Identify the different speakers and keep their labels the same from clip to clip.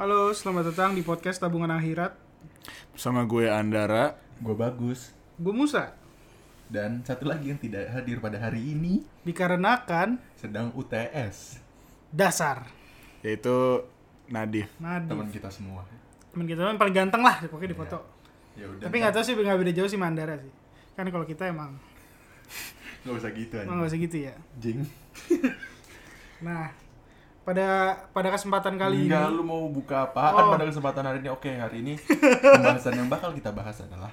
Speaker 1: Halo, selamat datang di podcast Tabungan Akhirat.
Speaker 2: Sama gue Andara.
Speaker 3: Gue bagus.
Speaker 1: Gue Musa,
Speaker 3: Dan satu lagi yang tidak hadir pada hari ini
Speaker 1: dikarenakan
Speaker 3: sedang UTS
Speaker 1: dasar.
Speaker 2: Yaitu Nadif.
Speaker 3: teman
Speaker 1: Nadif.
Speaker 3: kita semua.
Speaker 1: Temen kita yang paling ganteng lah, pokoknya di foto.
Speaker 3: Ya udah.
Speaker 1: Tapi nggak tahu sih nggak beda jauh sih Mandara sih. Kan kalau kita emang
Speaker 3: Gak usah gitu
Speaker 1: emang nggak usah gitu ya.
Speaker 3: Jing.
Speaker 1: Nah, pada pada kesempatan kali
Speaker 3: Enggak,
Speaker 1: ini
Speaker 3: Iya, lu mau buka
Speaker 1: Oh.
Speaker 3: apaan pada kesempatan hari ini? Oke, hari ini pembahasan yang bakal kita bahas adalah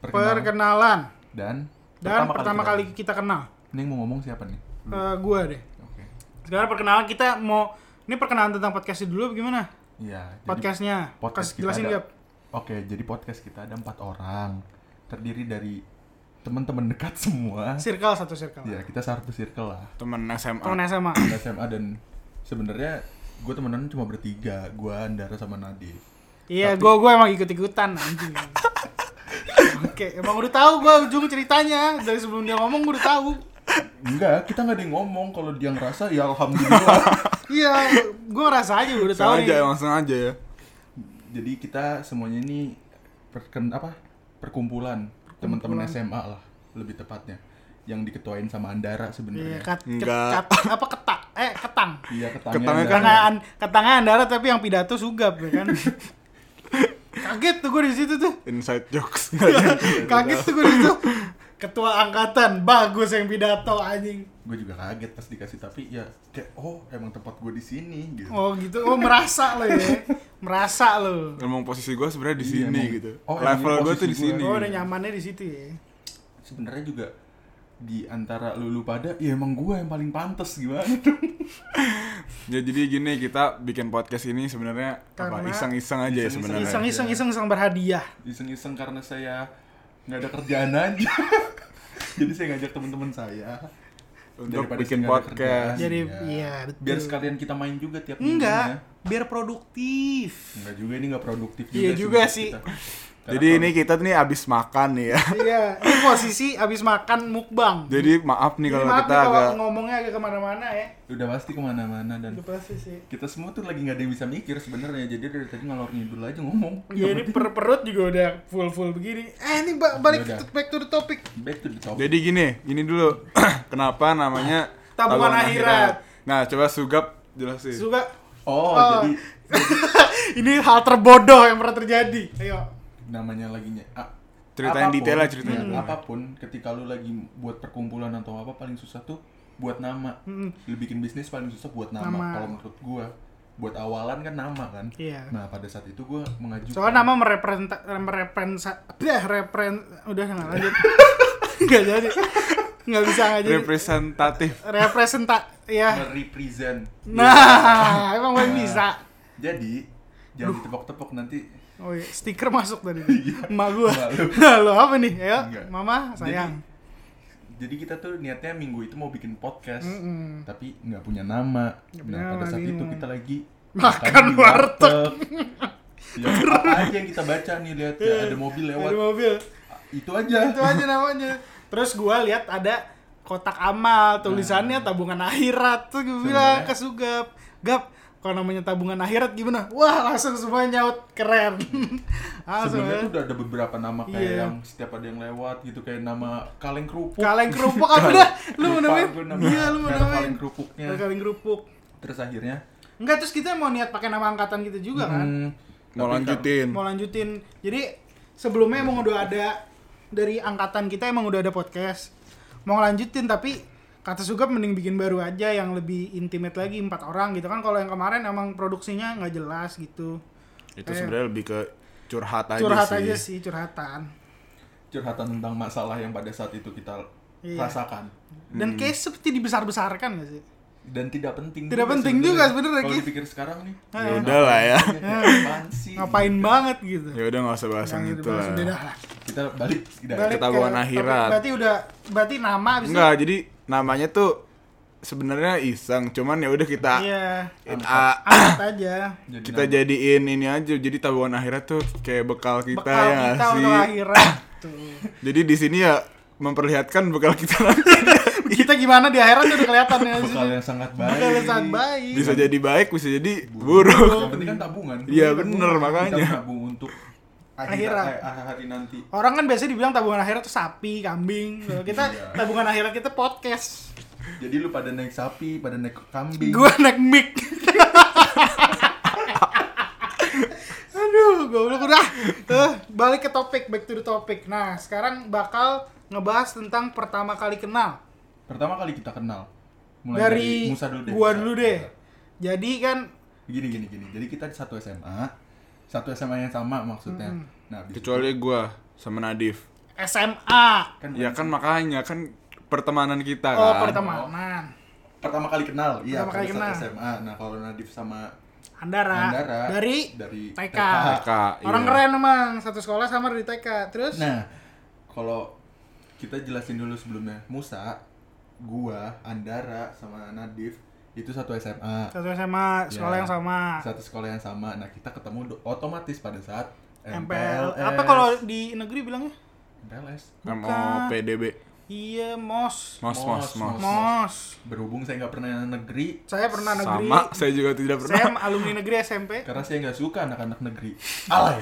Speaker 3: perkenalan
Speaker 1: perkenalan
Speaker 3: dan
Speaker 1: dan pertama, kali,
Speaker 3: kita- Hmm.
Speaker 1: kita kenal
Speaker 3: Ini yang mau ngomong siapa nih?
Speaker 1: Eh gue deh.
Speaker 3: Oke.
Speaker 1: Sekarang perkenalan kita mau ini perkenalan tentang podcastnya dulu apa gimana?
Speaker 3: Iya. jadi-
Speaker 1: Podcastnya.
Speaker 3: podcast
Speaker 1: Kas-
Speaker 3: kita
Speaker 1: jelasin
Speaker 3: ada-
Speaker 1: gak?
Speaker 3: Oke, jadi podcast kita ada empat orang terdiri dari teman-teman dekat semua.
Speaker 1: Circle satu circle.
Speaker 3: Ya, kita satu circle lah.
Speaker 2: Temen SMA.
Speaker 3: Ah.
Speaker 1: Temen SMA.
Speaker 3: Di SMA dan sebenarnya gue temenan cuma bertiga, gue Andara sama Nadif.
Speaker 1: Iya, gue gue emang ikut ikutan anjing. Oke, emang udah tahu gue ujung ceritanya dari sebelum dia ngomong gue udah tahu.
Speaker 3: Enggak, kita nggak ada yang ngomong kalau dia ngerasa ya alhamdulillah.
Speaker 1: Iya, gue ngerasa aja gua udah tahu
Speaker 2: Sengaja,
Speaker 1: nih.
Speaker 2: emang sengaja ya.
Speaker 3: Jadi kita semuanya ini perken apa? Perkumpulan teman-teman SMA lah, lebih tepatnya. Yang diketuain sama Andara
Speaker 1: Iya,
Speaker 3: sebenarnya.
Speaker 1: kat, ket-
Speaker 2: Enggak.
Speaker 1: kat- apa ketak? Eh, ketang.
Speaker 3: Iya,
Speaker 2: Ketangnya
Speaker 3: ketangnya
Speaker 2: kan
Speaker 3: Andara.
Speaker 1: Ketangan, ketangan Andara tapi yang pidato sugap ya kan. Kaget tuh gue di situ tuh.
Speaker 2: Inside jokes.
Speaker 1: Kaget tuh gue di situ. Ketua angkatan bagus yang pidato anjing.
Speaker 3: Gue juga kaget pas dikasih tapi ya kayak oh emang tempat gue di sini gitu.
Speaker 1: Oh gitu. Oh merasa lo ya. Merasa lo.
Speaker 2: Emang posisi gue sebenarnya di
Speaker 3: Iya,
Speaker 2: sini
Speaker 3: emang.
Speaker 2: gitu.
Speaker 3: Oh, emang
Speaker 2: Level gue
Speaker 3: posisi
Speaker 2: tuh di
Speaker 3: gua.
Speaker 2: sini.
Speaker 1: Oh udah
Speaker 2: gitu.
Speaker 1: nyamannya di situ ya.
Speaker 3: Sebenarnya juga di antara lulu pada ya emang gue yang paling pantas gimana dong.
Speaker 2: Ya, jadi gini kita bikin podcast ini sebenarnya apa
Speaker 1: Karena-
Speaker 2: iseng-iseng aja ya
Speaker 3: Iseng-iseng.
Speaker 2: sebenarnya.
Speaker 1: Iseng iseng iseng iseng berhadiah.
Speaker 3: iseng-iseng karena saya nggak ada kerjaan aja jadi saya ngajak teman-teman saya
Speaker 2: Untuk
Speaker 3: Daripada
Speaker 2: bikin
Speaker 3: saya nggak ada
Speaker 2: podcast.
Speaker 3: kerjaan.
Speaker 1: Jadi
Speaker 3: Iya.
Speaker 1: iya betul.
Speaker 3: biar sekalian kita main juga tiap minggunya.
Speaker 1: Enggak, biar produktif.
Speaker 3: enggak juga ini nggak produktif juga
Speaker 1: Iya juga
Speaker 3: buat
Speaker 1: sih.
Speaker 3: kita. Karena
Speaker 2: Jadi
Speaker 3: kalau-
Speaker 2: ini kita tuh nih abis makan nih ya.
Speaker 1: iya, ini posisi abis makan mukbang.
Speaker 2: Jadi maaf nih kalau
Speaker 1: maaf
Speaker 2: kita
Speaker 1: nih
Speaker 2: agak
Speaker 1: ngomongnya agak kemana-mana ya.
Speaker 3: udah pasti kemana-mana dan
Speaker 1: Udah pasti sih.
Speaker 3: kita semua tuh lagi nggak ada yang bisa mikir sebenarnya jadi dari tadi ngalor ngidul aja ngomong
Speaker 1: Ya ini per perut juga udah full full begini. Eh ini ba- balik
Speaker 3: Yaudah.
Speaker 1: to- back to the topic.
Speaker 3: back to the topic
Speaker 2: Jadi gini, ini dulu kenapa namanya
Speaker 1: Tabungan Akhirat.
Speaker 2: Nah, coba Sugap jelasin.
Speaker 1: Suka
Speaker 3: oh,
Speaker 1: Oh.
Speaker 3: jadi
Speaker 1: ini hal terbodoh yang pernah terjadi. Ayo.
Speaker 3: namanya lagi nye- a-
Speaker 2: Ceritain
Speaker 3: apapun,
Speaker 2: detail lah, ceritain
Speaker 3: iya,
Speaker 2: detail.
Speaker 3: apapun ketika lu lagi buat perkumpulan atau apa paling susah tuh buat nama
Speaker 1: Mm.
Speaker 3: lu bikin bisnis paling susah buat nama,
Speaker 1: Nama.
Speaker 3: kalau menurut gua buat awalan kan nama kan
Speaker 1: Iya.
Speaker 3: nah pada saat itu gua mengajukan
Speaker 1: Soalnya nama merepresenta merepresa eh, repren udah nggak lanjut. Enggak jadi. Nggak bisa nggak jadi.
Speaker 2: Representatif.
Speaker 1: Representa ya.
Speaker 3: merepresent
Speaker 1: Nah,
Speaker 3: Iya.
Speaker 1: emang gue bisa.
Speaker 3: jadi jangan ditepok-tepok nanti
Speaker 1: Oh iya, stiker masuk tadi.
Speaker 3: Iya.
Speaker 1: Emak gua.
Speaker 3: Emak
Speaker 1: Lo apa nih? Ayo,
Speaker 3: Enggak.
Speaker 1: Mama sayang.
Speaker 3: jadi, jadi kita tuh niatnya minggu itu mau bikin podcast
Speaker 1: Mm-mm.
Speaker 3: tapi nggak punya nama
Speaker 1: Nggak punya
Speaker 3: nah pada
Speaker 1: nama,
Speaker 3: saat itu
Speaker 1: bingung.
Speaker 3: kita lagi
Speaker 1: Makan
Speaker 3: di
Speaker 1: warteg.
Speaker 3: ya, apa aja yang kita baca nih lihat ya, ada mobil lewat
Speaker 1: Ada mobil.
Speaker 3: itu aja
Speaker 1: Itu aja namanya. Terus gua lihat ada kotak amal tulisannya
Speaker 3: Nah.
Speaker 1: tabungan akhirat tuh gue bilang
Speaker 3: Sebenarnya-
Speaker 1: ke Sugap gap kalau namanya tabungan akhirat gimana wah langsung semua nyaut keren langsung
Speaker 3: Sebenarnya
Speaker 1: ya.
Speaker 3: tuh udah ada beberapa nama kayak
Speaker 1: Iya.
Speaker 3: yang setiap ada yang lewat gitu kayak nama kaleng kerupuk.
Speaker 1: kaleng kerupuk apa dah lu mau
Speaker 3: Lupa
Speaker 1: namain
Speaker 3: gue nama-
Speaker 1: iya lu mau
Speaker 3: nama
Speaker 1: namain
Speaker 3: kaleng kerupuknya.
Speaker 1: kaleng kerupuk
Speaker 3: Terus akhirnya
Speaker 1: Enggak, terus kita mau niat pakai nama angkatan kita juga kan.
Speaker 3: hmm,
Speaker 2: Mau
Speaker 3: tapi
Speaker 2: lanjutin.
Speaker 1: Mau lanjutin. Jadi sebelumnya emang udah ada dari angkatan kita emang udah ada podcast. Mau lanjutin tapi kata Sugap mending bikin baru aja yang lebih intimate lagi empat orang gitu kan kalau yang kemarin emang produksinya nggak jelas gitu
Speaker 2: Itu
Speaker 1: Eh.
Speaker 2: sebenarnya lebih ke curhat aja
Speaker 1: curhat
Speaker 2: sih.
Speaker 1: aja sih curhatan
Speaker 3: kar- curhatan tentang masalah yang pada saat itu kita
Speaker 1: Iya.
Speaker 3: rasakan
Speaker 2: Hmm.
Speaker 1: dan kayak seperti dibesar besarkan gak sih
Speaker 3: dan tidak penting.
Speaker 1: Tidak penting juga sebenarnya,
Speaker 3: Kalau
Speaker 1: Ki.
Speaker 3: dipikir sekarang nih. Iya,
Speaker 2: Ya udah lah ya.
Speaker 3: kayak apaan sih?
Speaker 1: ngapain banget gitu
Speaker 2: Ya udah nggak usah bahas yang
Speaker 1: Yang
Speaker 2: itu
Speaker 1: dibahas, udah
Speaker 2: lah.
Speaker 1: dah.
Speaker 3: Kita balik tidak
Speaker 1: Balik
Speaker 2: ke tabungan
Speaker 1: topik.
Speaker 2: akhirat.
Speaker 1: berarti udah berarti nama abis itu-
Speaker 2: Enggak, jadi namanya tuh sebenarnya iseng, cuman ya udah kita
Speaker 1: iya
Speaker 2: in- a-
Speaker 1: angkat aja
Speaker 3: Jadi
Speaker 2: kita
Speaker 3: nama-
Speaker 2: jadiin ini aja. Jadi tabungan akhirat tuh kayak bekal kita
Speaker 1: bekal
Speaker 2: ya nggak
Speaker 1: kita
Speaker 2: sih.
Speaker 1: untuk akhirat tuh
Speaker 2: Jadi di sini ya memperlihatkan bekal kita nanti.
Speaker 1: kita gimana di akhirat tuh udah kelihatan ya sih.
Speaker 3: Bekal yang sangat baik.
Speaker 1: Bakal yang sangat baik.
Speaker 2: bisa jadi baik bisa jadi
Speaker 3: Yang
Speaker 2: buruk
Speaker 3: penting kan tabungan.
Speaker 2: Iya,
Speaker 3: Kita
Speaker 2: bener,
Speaker 3: tabung.
Speaker 2: makanya.
Speaker 3: Kita tabung untuk
Speaker 1: Akhirat.
Speaker 3: akhirat eh, hari nanti.
Speaker 1: Orang kan biasanya dibilang tabungan akhirat tuh sapi, kambing. Kalau kita
Speaker 3: Iya.
Speaker 1: tabungan akhirat kita podcast.
Speaker 3: Jadi lu pada naik sapi, pada naik kambing.
Speaker 1: Gua naik mic. Aduh, goblok udah. Eh, balik ke topik, back to the topic. Nah, sekarang bakal ngebahas tentang pertama kali kenal.
Speaker 3: Pertama kali kita kenal.
Speaker 1: dari,
Speaker 3: Musa dulu deh.
Speaker 1: gua
Speaker 3: Musa.
Speaker 1: dulu deh. Jadi kan
Speaker 3: Gini gini gini. Jadi kita satu SMA. Satu SMA yang sama maksudnya.
Speaker 1: Hmm.
Speaker 3: Nah, abis-
Speaker 2: kecuali gua sama Nadif
Speaker 1: SMA.
Speaker 3: kan
Speaker 2: ya kan makanya kan pertemanan kita
Speaker 1: Oh,
Speaker 2: kan
Speaker 1: pertemanan.
Speaker 3: pertama kali kenal. Iya,
Speaker 1: Pertama kali
Speaker 3: kita
Speaker 1: kenal.
Speaker 3: satu SMA. Nah, kalau Nadif sama
Speaker 1: Andara.
Speaker 3: Andara.
Speaker 1: Dari,
Speaker 3: Dari
Speaker 1: TK.
Speaker 3: TK.
Speaker 2: TK,
Speaker 1: Orang
Speaker 2: iya.
Speaker 1: keren emang, satu sekolah sama dari TK. Terus
Speaker 3: Nah, kalau kita jelasin dulu sebelumnya, Musa, gua, Andara, sama Nadif itu satu SMA,
Speaker 1: satu SMA, sekolah
Speaker 3: Iya.
Speaker 1: yang sama.
Speaker 3: satu sekolah yang sama. Nah, kita ketemu do- otomatis pada saat
Speaker 1: MPL.
Speaker 3: MPLS.
Speaker 1: Apa kalau di negeri bilangnya?
Speaker 3: MPLS?
Speaker 2: Kan, oh, MOPDB
Speaker 1: Iya, MOS.
Speaker 2: mos mos mos
Speaker 3: Mos.
Speaker 1: MOS.
Speaker 3: Berhubung saya nggak pernah negeri,
Speaker 1: Saya pernah negeri.
Speaker 2: sama saya juga tidak
Speaker 1: Saya
Speaker 2: pernah
Speaker 1: alumni negeri SMP.
Speaker 3: karena saya nggak suka anak-anak negeri. Alay.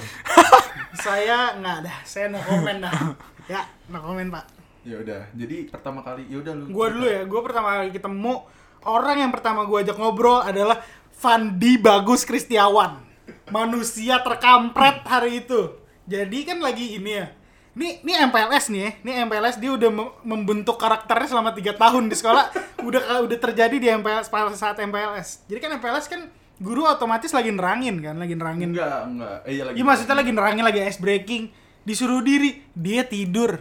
Speaker 1: Saya nggak ada. Saya no comment dah. ya, no comment, Pak.
Speaker 3: ya udah. Jadi pertama kali, ya udah lu.
Speaker 1: Gua dulu ya, gua pertama kali ketemu orang yang pertama gua ajak ngobrol adalah Fandi Bagus Kristiawan. Manusia terkampret hari itu. Jadi kan lagi ini ya. Ini ini MPLS nih ya. Ini MPLS dia udah mem- membentuk karakternya selama 3 tahun di sekolah. udah udah terjadi di MPLS pada saat MPLS. Jadi kan MPLS kan guru otomatis lagi nerangin kan, lagi nerangin.
Speaker 3: Enggak, enggak. Eh, iya lagi.
Speaker 1: Iya maksudnya lagi nerangin lagi ice breaking. Disuruh diri, dia tidur.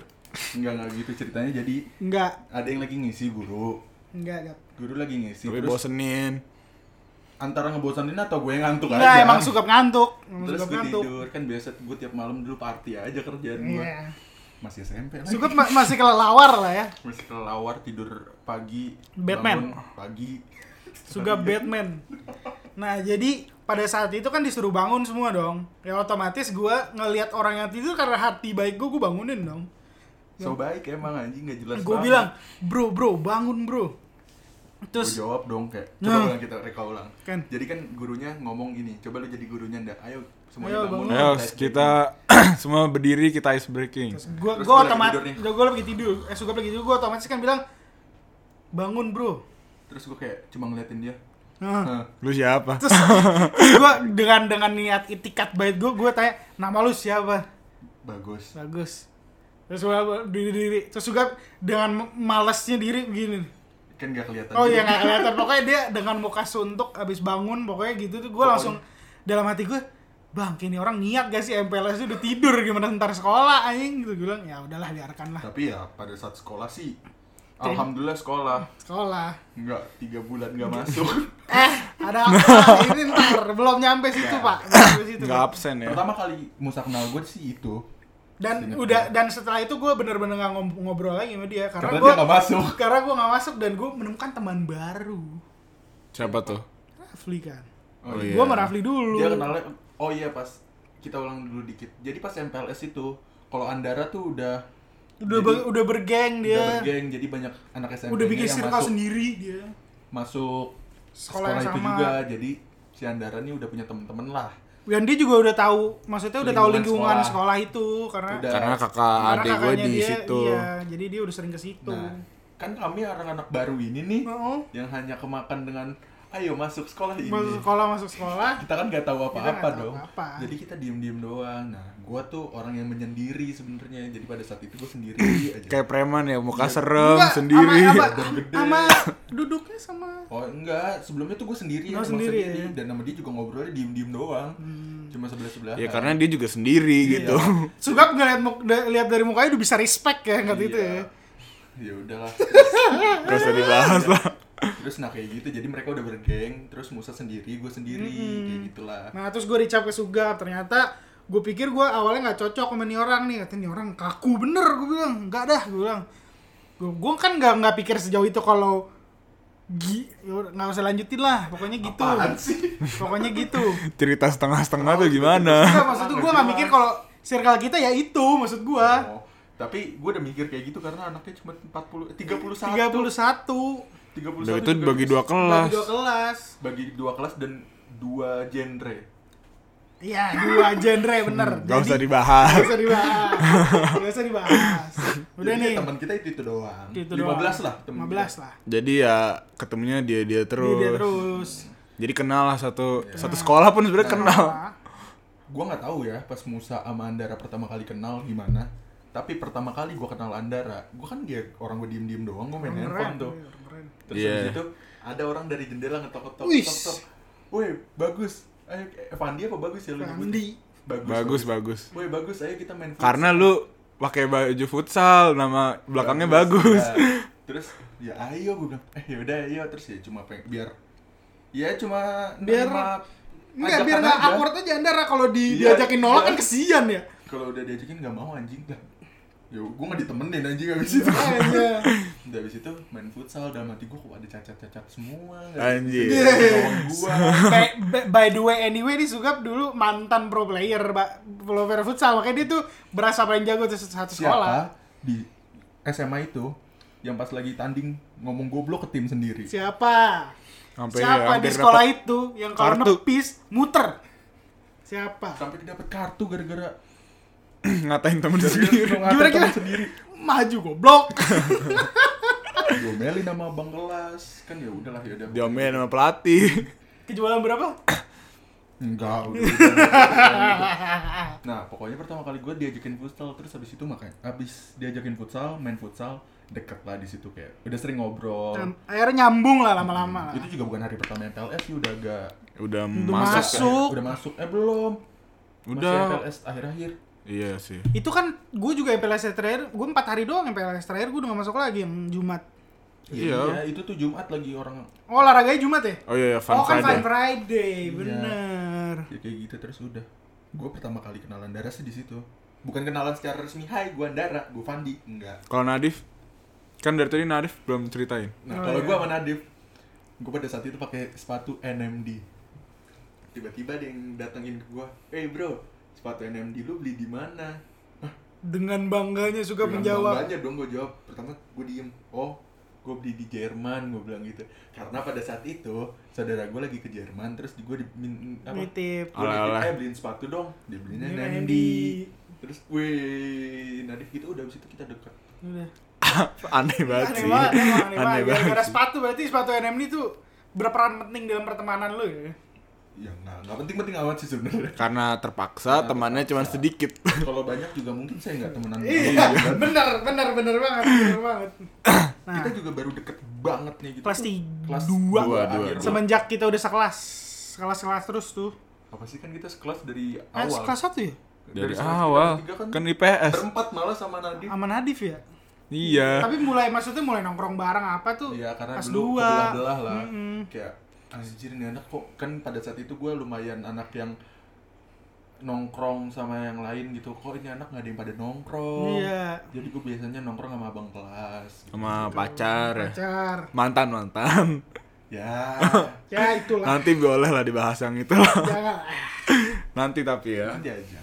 Speaker 3: Enggak, enggak gitu ceritanya. Jadi
Speaker 1: Enggak,
Speaker 3: ada yang lagi ngisi guru.
Speaker 1: enggak, enggak.
Speaker 3: Guru lagi ngisi.
Speaker 2: tapi
Speaker 3: terus-
Speaker 2: bosenin
Speaker 3: antara ngebosanin atau gue yang ngantuk
Speaker 1: Enggak,
Speaker 3: aja
Speaker 1: emang suka ngantuk. Emang
Speaker 3: terus
Speaker 1: suka
Speaker 3: gue
Speaker 1: ngantuk.
Speaker 3: tidur kan biasa gue tiap malam dulu party aja kerjaan gue
Speaker 1: Iya.
Speaker 3: masih SMP lagi
Speaker 1: Sugep ma- masih kelelawar lah ya.
Speaker 3: masih kelawar tidur pagi
Speaker 1: Batman.
Speaker 3: bangun pagi
Speaker 1: Sugap
Speaker 3: Iya.
Speaker 1: Batman. Nah, jadi pada saat itu kan disuruh bangun semua dong. Ya otomatis gua ngelihat orang yang tidur karena hati baik gua, gua bangunin dong.
Speaker 3: so baik emang anjing nggak jelas
Speaker 1: Gua
Speaker 3: banget.
Speaker 1: bilang, "Bro, bro, bangun, bro."
Speaker 3: Gua
Speaker 1: Terus
Speaker 3: jawab dong kayak coba
Speaker 1: Nah.
Speaker 3: ulang kita reka ulang
Speaker 1: Kan.
Speaker 3: jadi kan gurunya ngomong ini coba lu jadi gurunya ndak
Speaker 1: Ayo,
Speaker 3: ayo semuanya bangun
Speaker 1: bangun.
Speaker 2: ayo
Speaker 3: Ice breaking.
Speaker 2: Ya, kita semua berdiri kita ice breaking
Speaker 1: terus gua gua
Speaker 3: Terus gua lagi
Speaker 1: otomatis
Speaker 3: tidur nih.
Speaker 1: gua, gua lagi tidur. Eh, Sugap lagi tidur, gua otomatis kan bilang, "Bangun, bro."
Speaker 3: terus gue kayak cuma ngeliatin dia
Speaker 1: Nah,
Speaker 3: Hah.
Speaker 2: lu siapa
Speaker 1: terus gue dengan dengan niat itikat baik gue gue tanya nama lu siapa
Speaker 3: bagus
Speaker 1: bagus terus gue diri diri terus juga dengan malesnya diri begini
Speaker 3: kan gak kelihatan
Speaker 1: oh
Speaker 3: juga.
Speaker 1: iya nggak kelihatan pokoknya dia dengan muka suntuk abis bangun pokoknya gitu tuh gue langsung dalam hati gue bang ini orang niat gak sih MPLS udah tidur gimana ntar sekolah anjing gitu gue bilang ya udahlah biarkan lah
Speaker 3: tapi ya pada saat sekolah sih alhamdulillah sekolah
Speaker 1: sekolah
Speaker 3: Enggak, tiga bulan enggak masuk.
Speaker 1: eh ada apa ini ntar belum nyampe situ pak Belum nyampe situ,
Speaker 2: nggak
Speaker 1: Pak.
Speaker 2: absen ya
Speaker 3: Pertama kali Musa kenal gue sih itu.
Speaker 1: dan
Speaker 3: Seingat
Speaker 1: udah
Speaker 3: gua.
Speaker 1: dan setelah itu gue bener-bener gak ngob- ngobrol lagi sama dia karena,
Speaker 3: Karena
Speaker 1: gue
Speaker 3: dia gak masuk.
Speaker 1: karena gue gak masuk dan gue menemukan teman baru
Speaker 2: siapa tuh
Speaker 1: Rafli kan
Speaker 3: Oh,
Speaker 2: Oh,
Speaker 3: iya.
Speaker 2: iya.
Speaker 1: gue sama Rafli dulu
Speaker 3: Dia kenalnya oh iya pas kita ulang dulu dikit. Jadi pas MPLS itu kalau Andara tuh udah
Speaker 1: udah ber- udah bergeng
Speaker 3: udah
Speaker 1: dia
Speaker 3: bergeng, jadi banyak anak SMP
Speaker 1: udah bikin
Speaker 3: yang
Speaker 1: circle
Speaker 3: masuk,
Speaker 1: sendiri dia
Speaker 3: masuk
Speaker 1: Sekolah
Speaker 3: sekolah,
Speaker 1: yang
Speaker 3: itu
Speaker 1: sama.
Speaker 3: juga. Jadi si Andara nih udah punya temen-temen lah.
Speaker 1: dan dia juga udah tahu maksudnya udah tahu
Speaker 3: Lingkungan
Speaker 1: lingkungan
Speaker 3: sekolah.
Speaker 1: sekolah. itu karena
Speaker 3: Udah.
Speaker 2: karena kakak
Speaker 1: karena
Speaker 2: Ah, adik gue
Speaker 1: kakaknya
Speaker 2: di
Speaker 1: dia,
Speaker 2: situ
Speaker 1: iya, jadi dia udah sering ke situ
Speaker 3: Nah, kan kami anak-anak baru ini nih
Speaker 1: Oh,
Speaker 3: yang hanya kemakan dengan ayo masuk sekolah ini.
Speaker 1: masuk sekolah masuk sekolah
Speaker 3: kita kan nggak tahu
Speaker 1: Kita
Speaker 3: apa-apa
Speaker 1: nggak tahu
Speaker 3: dong
Speaker 1: apa-apa.
Speaker 3: jadi kita diem-diem doang nah gua tuh orang yang menyendiri sebenarnya jadi pada saat itu gua sendiri aja
Speaker 2: kayak preman ya muka serem
Speaker 1: Iya. Enggak,
Speaker 2: sendiri
Speaker 1: sama,
Speaker 3: Dan
Speaker 1: sama,
Speaker 3: gede.
Speaker 1: sama duduknya sama
Speaker 3: oh enggak sebelumnya tuh gua sendiri
Speaker 1: Oh,
Speaker 3: sama
Speaker 1: sendiri Hmm.
Speaker 3: sendiri
Speaker 1: ya.
Speaker 3: dan sama dia juga ngobrolnya diem-diem doang cuma sebelah sebelah
Speaker 2: ya karena dia juga sendiri
Speaker 1: Iya.
Speaker 2: gitu
Speaker 1: Sugap ngeliat muk- da- lihat dari mukanya udah bisa respect ya nggak
Speaker 3: Iya.
Speaker 1: gitu ya
Speaker 3: ya udahlah
Speaker 2: gak
Speaker 1: Iya.
Speaker 2: usah dibahas lah
Speaker 3: terus nah kayak gitu jadi mereka udah bergeng terus Musa sendiri gua sendiri kayak gitulah
Speaker 1: Nah terus gue dicap ke Sugap ternyata gue pikir gue awalnya nggak cocok sama nih orang nih katanya nih orang kaku bener gue bilang nggak dah gue bilang gue gue kan nggak nggak pikir sejauh itu kalau gi ya udah, nggak usah lanjutin lah pokoknya gitu
Speaker 3: apaan sih
Speaker 1: pokoknya gitu
Speaker 2: cerita
Speaker 1: Iya.
Speaker 2: setengah-setengah tuh gimana
Speaker 1: Nggak, maksud gue nggak mikir kalau circle kita ya itu maksud gue
Speaker 3: Oh, Tapi gue udah mikir kayak gitu karena anaknya cuma 40
Speaker 1: 31
Speaker 3: 31. 31.
Speaker 2: Udah itu
Speaker 3: juga
Speaker 2: dibagi dua
Speaker 1: bagi
Speaker 2: kelas.
Speaker 1: dua kelas
Speaker 3: bagi dua kelas dan dua genre.
Speaker 1: iya dua genre bener
Speaker 3: Hmm,
Speaker 2: Gak usah
Speaker 1: Jadi,
Speaker 2: dibahas.
Speaker 1: nggak usah dibahas nggak usah dibahas udah
Speaker 3: Jadi
Speaker 1: nih
Speaker 3: teman kita itu, itu doang.
Speaker 1: Itu
Speaker 3: 15
Speaker 1: doang.
Speaker 3: lah teman.
Speaker 1: 15 lah
Speaker 2: Jadi ya ketemunya dia dia
Speaker 1: Dia-
Speaker 2: terus.
Speaker 1: dia terus
Speaker 2: Jadi kenal lah satu
Speaker 1: Iya.
Speaker 2: satu sekolah pun sebenarnya kenal.
Speaker 1: Nah,
Speaker 3: Gue nggak tahu ya pas Musa sama Andara pertama kali kenal gimana. Tapi pertama kali gue kenal Andara, gue kan dia orang gue diem-diem doang, gue main
Speaker 1: keren,
Speaker 3: handphone tuh.
Speaker 1: keren.
Speaker 3: Terus
Speaker 2: Iya.
Speaker 3: habis itu ada orang dari jendela ngetok-ngetok,
Speaker 1: Wih.
Speaker 3: ngetok-ngetok. Woi, bagus. Ayo, eh, Fandi apa bagus ya lu nyebut?
Speaker 1: Fandi.
Speaker 3: Bagus.
Speaker 2: Bagus
Speaker 1: Iya.
Speaker 2: bagus.
Speaker 3: Woi, bagus. Ayo kita main
Speaker 2: Karena lu pakai baju futsal, nama belakangnya
Speaker 1: Iya.
Speaker 2: bagus.
Speaker 3: Ya. Terus ya ayo gue bilang, eh yaudah ayo terus ya cuma pengen biar ya cuma
Speaker 1: Biar-
Speaker 3: nerima
Speaker 1: Enggak,
Speaker 3: ajakan
Speaker 1: biar nggak
Speaker 3: aja.
Speaker 1: awkward aja Andara kalau di,
Speaker 3: Iya,
Speaker 1: diajakin nolak
Speaker 3: iya.
Speaker 1: kan kesian ya.
Speaker 3: Kalau udah diajakin nggak mau anjing dah. Ya gue nggak ditemenin anjing abis itu.
Speaker 1: Makanya.
Speaker 3: Udah abis itu main futsal dalam hati gue kok ada cacat-cacat semua. Iya.
Speaker 2: Anjing.
Speaker 3: Gue
Speaker 1: Iya. by, by- by the way anyway nih Sugap dulu mantan pro player ba- pro player futsal makanya dia tuh berasa paling jago tuh satu sekolah
Speaker 3: siapa di SMA itu yang pas lagi tanding ngomong goblok ke tim sendiri.
Speaker 1: siapa siapa,
Speaker 2: Sampai
Speaker 1: di
Speaker 2: hampir
Speaker 1: sekolah
Speaker 2: dapet
Speaker 1: itu yang kalau
Speaker 2: kartu.
Speaker 1: nepis muter siapa
Speaker 3: Sampai dapat kartu gara-gara
Speaker 2: ngatain temen sendiri.
Speaker 3: gara-gara
Speaker 1: gimana gimana
Speaker 3: temen sendiri.
Speaker 1: maju goblok
Speaker 3: Diomelin sama abang kelas kan ya udahlah ya udah.
Speaker 2: Diomelin sama pelatih.
Speaker 1: kejualan berapa
Speaker 3: Enggak, udah. udah. nah, pokoknya pertama kali gue diajakin futsal, terus habis itu makanya habis diajakin futsal, main futsal, deket lah di situ kayak udah sering ngobrol.
Speaker 1: Nyam- akhirnya nyambung lah lama-lama lah.
Speaker 3: Itu juga bukan hari pertama PLS sih udah agak
Speaker 2: Udah
Speaker 1: Udah
Speaker 2: masuk.
Speaker 1: masuk.
Speaker 3: akhir- udah masuk. Eh belum.
Speaker 2: Udah.
Speaker 3: Masih PLS akhir-akhir.
Speaker 2: Iya sih.
Speaker 1: itu kan gue juga MPLS terakhir gue empat hari doang MPLS terakhir gue udah gak masuk lagi yang Jumat
Speaker 2: Iya.
Speaker 3: Iya, itu tuh Jumat lagi orang
Speaker 1: oh olahraganya Jumat ya
Speaker 2: Oh iya, iya, Fun
Speaker 1: oh kan
Speaker 2: Friday.
Speaker 1: Fun Friday
Speaker 3: Iya.
Speaker 1: bener
Speaker 3: ya kayak gitu terus udah. Gue pertama kali kenalan Dara sih di situ. Bukan kenalan secara resmi, hai gue Andara, gue Fandi, enggak.
Speaker 2: Kalau Nadif kan dari tadi Nadif belum ceritain.
Speaker 3: Nah,
Speaker 1: Oh,
Speaker 3: kalau
Speaker 1: iya.
Speaker 3: gua sama Nadif, gua pada saat itu pakai sepatu NMD. Tiba-tiba ada yang datengin ke gua, "Eh, bro, sepatu NMD lu beli di mana?"
Speaker 1: dengan bangganya suka
Speaker 3: Dengan
Speaker 1: menjawab
Speaker 3: bangganya dong gua jawab. Pertama gua diem, "Oh, gua beli di Jerman," gua bilang gitu. Karena pada saat itu saudara gua lagi ke Jerman, terus di- gua dimin apa?
Speaker 1: nitip
Speaker 3: Gua nitip,
Speaker 2: Oleh-oleh.
Speaker 3: "Eh, beliin sepatu dong." Dia beliinnya
Speaker 1: Beliin
Speaker 3: NMD.
Speaker 1: NMD.
Speaker 3: Terus, "Wih, Nadif gitu udah abis itu kita dekat."
Speaker 1: udah
Speaker 2: aneh banget
Speaker 1: aneh
Speaker 2: sih.
Speaker 1: banget emang, aneh
Speaker 2: Aneh
Speaker 1: banget gara-gara
Speaker 2: sih.
Speaker 1: sepatu berarti sepatu NM itu berperan penting dalam pertemanan lu ya
Speaker 3: Ya nggak nggak penting-penting amat sih sebenarnya.
Speaker 2: Karena terpaksa
Speaker 1: Iya,
Speaker 3: Karena
Speaker 2: temannya cuma
Speaker 3: terpaksa.
Speaker 2: sedikit.
Speaker 3: Kalau banyak juga mungkin saya nggak temenan. sama
Speaker 1: iya
Speaker 3: dia, kan?
Speaker 1: bener bener bener banget bener banget nah
Speaker 3: kita juga baru deket banget nih gitu.
Speaker 1: Kelas tiga.
Speaker 3: Kelas
Speaker 1: Dua.
Speaker 3: dua,
Speaker 2: Dua,
Speaker 3: akhir.
Speaker 2: dua.
Speaker 1: semenjak kita udah sekelas kelas-kelas terus tuh
Speaker 3: apa sih kan kita sekelas dari
Speaker 1: eh,
Speaker 3: awal.
Speaker 1: kelas satu ya
Speaker 2: Dari
Speaker 3: sekelas
Speaker 2: awal
Speaker 3: tiga ke tiga
Speaker 2: kan IPS.
Speaker 3: berempat malah sama Nadif.
Speaker 1: sama Nadif ya
Speaker 2: Iya.
Speaker 1: tapi mulai maksudnya mulai nongkrong bareng apa tuh
Speaker 3: Iya karena
Speaker 1: kelas
Speaker 3: dulu
Speaker 1: dua
Speaker 3: belah lah.
Speaker 1: Mm-mm.
Speaker 3: Kayak anjir nih anak kok kan pada saat itu gue lumayan anak yang nongkrong sama yang lain gitu kok ini anak nggak ada yang pada nongkrong
Speaker 2: Oh.
Speaker 1: Iya.
Speaker 3: jadi gue biasanya nongkrong sama abang kelas
Speaker 2: Sama pacar ya.
Speaker 1: pacar
Speaker 2: Mantan mantan.
Speaker 3: ya
Speaker 1: ya itulah
Speaker 2: Nanti boleh lah dibahas yang itu lah.
Speaker 1: jangan ah.
Speaker 2: Nanti tapi ya.
Speaker 3: nanti aja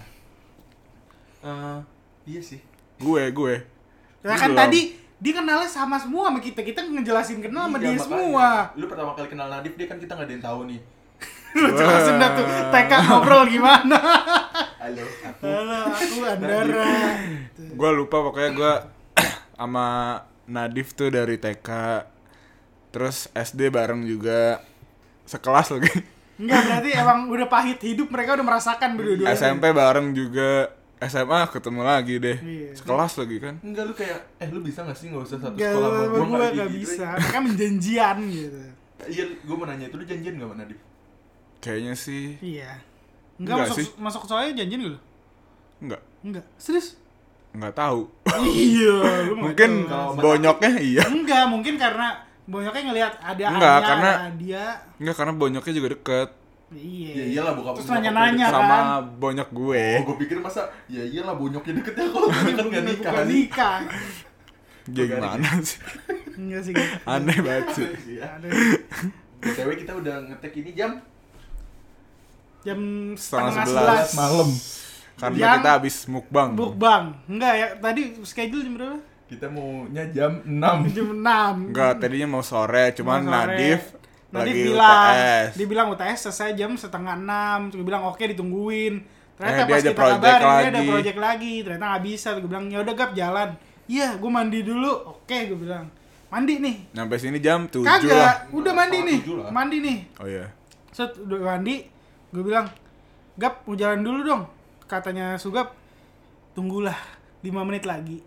Speaker 3: Eh, iya sih
Speaker 2: Gue gue.
Speaker 1: Nah kan
Speaker 2: Belum.
Speaker 1: tadi dia kenalnya sama semua sama kita. Kita ngejelasin kenal sama
Speaker 3: Iya,
Speaker 1: dia
Speaker 3: makanya.
Speaker 1: semua.
Speaker 3: Lu pertama kali kenal Nadif dia kan kita nggak ada yang tahu nih.
Speaker 1: Lu jelasin dah tuh TK ngobrol gimana.
Speaker 3: Halo, aku.
Speaker 1: Halo, aku
Speaker 2: Nah,
Speaker 1: Andara.
Speaker 2: gitu. Gue lupa pokoknya gue sama Nadif tuh dari TK. Terus SD bareng juga sekelas lagi.
Speaker 1: Enggak berarti emang udah pahit hidup mereka udah merasakan berdua.
Speaker 2: SMP bareng juga SMA ketemu lagi deh.
Speaker 1: Iya.
Speaker 2: Sekelas lagi kan.
Speaker 3: Enggak lu kayak eh lu bisa nggak sih nggak usah satu
Speaker 1: Gak,
Speaker 3: sekolah
Speaker 1: gue
Speaker 3: sama Nggak
Speaker 1: gak,
Speaker 3: kayak gitu,
Speaker 1: bisa. Mereka menjanjian gitu.
Speaker 3: eh. Iya, gua mau nanya itu lu janjian nggak sama Nadif?
Speaker 2: Kayaknya sih
Speaker 1: Iya.
Speaker 2: Enggak
Speaker 1: Enggak, masuk
Speaker 2: sih.
Speaker 1: masuk soalnya janjian gitu.
Speaker 2: enggak
Speaker 1: Enggak. Serius?
Speaker 2: enggak tahu.
Speaker 1: iya, lu
Speaker 2: Mungkin
Speaker 3: Kalau menang-
Speaker 2: bonyoknya iya.
Speaker 1: Enggak, mungkin karena bonyoknya ngelihat ada
Speaker 2: Enggak,
Speaker 1: Anya,
Speaker 2: karena-
Speaker 1: ada dia.
Speaker 2: Enggak karena bonyoknya juga deket
Speaker 1: Iya.
Speaker 3: Ya iyalah bokap.
Speaker 1: Terus
Speaker 3: bokap
Speaker 1: nanya-nanya.
Speaker 3: gua deket.
Speaker 2: sama bonyok gue.
Speaker 3: Oh, gua pikir masa ya iyalah bonyoknya deket ya kalau kan nggak
Speaker 1: Bukan
Speaker 3: nikah.
Speaker 1: bukan nikah.
Speaker 2: Dia gimana sih?
Speaker 1: Enggak sih. Gak.
Speaker 2: Aneh banget sih.
Speaker 3: Iya.
Speaker 1: Ada
Speaker 3: BTW kita udah ngetek ini jam
Speaker 1: jam
Speaker 2: Setengah
Speaker 1: setengah
Speaker 2: sebelas.
Speaker 1: sebelas
Speaker 3: malam.
Speaker 2: Karena
Speaker 1: Yang-
Speaker 2: kita habis mukbang.
Speaker 1: Bukbang. Enggak ya, tadi schedule jam berapa?
Speaker 3: Kita maunya jam 6
Speaker 1: Jam 6.
Speaker 2: Enggak, tadinya mau sore, cuman
Speaker 1: Sore.
Speaker 2: Nadif,
Speaker 1: Nadif
Speaker 2: lagi
Speaker 1: bilang,
Speaker 2: UTS.
Speaker 1: dia bilang UTS selesai jam setengah enam, Terus gue bilang oke ditungguin. Ternyata
Speaker 2: Eh, dia
Speaker 1: pas
Speaker 2: ada
Speaker 1: kita
Speaker 2: project
Speaker 1: kabarin dia ada
Speaker 2: lagi.
Speaker 1: project lagi, ternyata nggak bisa. Gue bilang ya udah gap jalan. Iya, gue mandi dulu. Oke, gue bilang mandi nih.
Speaker 2: Nyampe sini jam 7 lah.
Speaker 1: Kagak, udah mandi
Speaker 3: Setengah
Speaker 1: nih,
Speaker 3: tujuh lah.
Speaker 1: mandi nih.
Speaker 2: Oh iya.
Speaker 1: Set udah mandi, gue bilang gap mau jalan dulu dong. Katanya Sugap, tunggulah 5 menit lagi.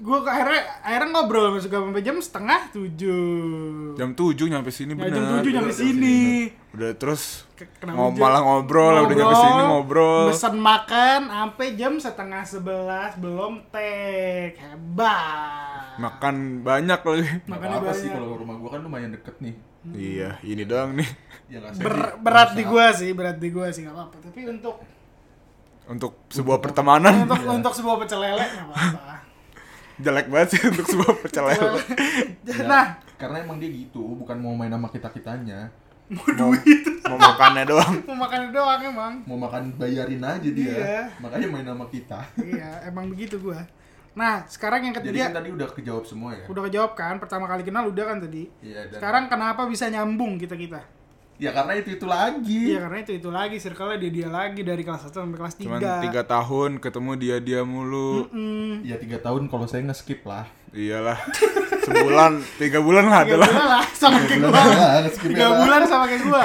Speaker 1: Gue akhirnya, akhirnya ngobrol sama Sugap sampai jam setengah tujuh.
Speaker 2: Jam 7 nyampe sini
Speaker 1: Ya,
Speaker 2: bener.
Speaker 1: jam 7 nyampe
Speaker 3: bener,
Speaker 1: sini.
Speaker 2: Udah terus
Speaker 1: Ke- kenapa
Speaker 2: ngom
Speaker 1: jam-
Speaker 2: malah ngobrol, udah nyampe sini ngobrol.
Speaker 1: Pesen makan sampai jam setengah sebelas belum tek. Hebat.
Speaker 2: Makan banyak lagi.
Speaker 1: Makannya
Speaker 3: Apa sih
Speaker 1: banyak.
Speaker 3: kalau rumah gua kan lumayan deket nih
Speaker 2: Iya, ini doang nih.
Speaker 3: Ya
Speaker 1: Ber-
Speaker 3: nggak sedih.
Speaker 1: berat di
Speaker 3: Nggak
Speaker 1: gua sih, berat di gua sih nggak apa-apa. Tapi untuk
Speaker 2: Untuk sebuah pertemanan
Speaker 1: untuk untuk sebuah pecel lele nggak apa-apa.
Speaker 2: jelek banget sih untuk sebuah percelakaan. Iya.
Speaker 3: usah.
Speaker 1: nah,
Speaker 3: Ya, Karena emang dia gitu, bukan mau main sama kita-kitanya
Speaker 2: mau, mau makannya doang.
Speaker 1: mau makan doang emang.
Speaker 3: Mau makan bayarin aja dia
Speaker 1: Iya.
Speaker 3: Makanya main sama kita
Speaker 1: iya, emang begitu gua. Nah, sekarang yang
Speaker 3: Jadi
Speaker 1: ketiga
Speaker 3: kan tadi udah kejawab semua ya
Speaker 1: udah kejawab kan pertama kali kenal udah kan tadi.
Speaker 3: Iya, dan-
Speaker 1: Sekarang kenapa bisa nyambung kita-kita?
Speaker 3: Ya karena itu-itu lagi
Speaker 1: Iya karena itu itu lagi circle-nya dia dia lagi dari kelas 1 sampai kelas 3.
Speaker 2: Hmm. Cuman tiga tahun ketemu dia-dia mulu.
Speaker 3: Ya tiga tahun kalau saya nge-skip lah
Speaker 2: Iyalah. Sebulan, tiga bulan lah
Speaker 1: tiga
Speaker 2: adalah.
Speaker 1: bulan Iya, lah sama kayak
Speaker 3: bulan
Speaker 1: gua
Speaker 3: lah, skip
Speaker 1: tiga
Speaker 3: ya, Pak.
Speaker 1: bulan sama kayak gua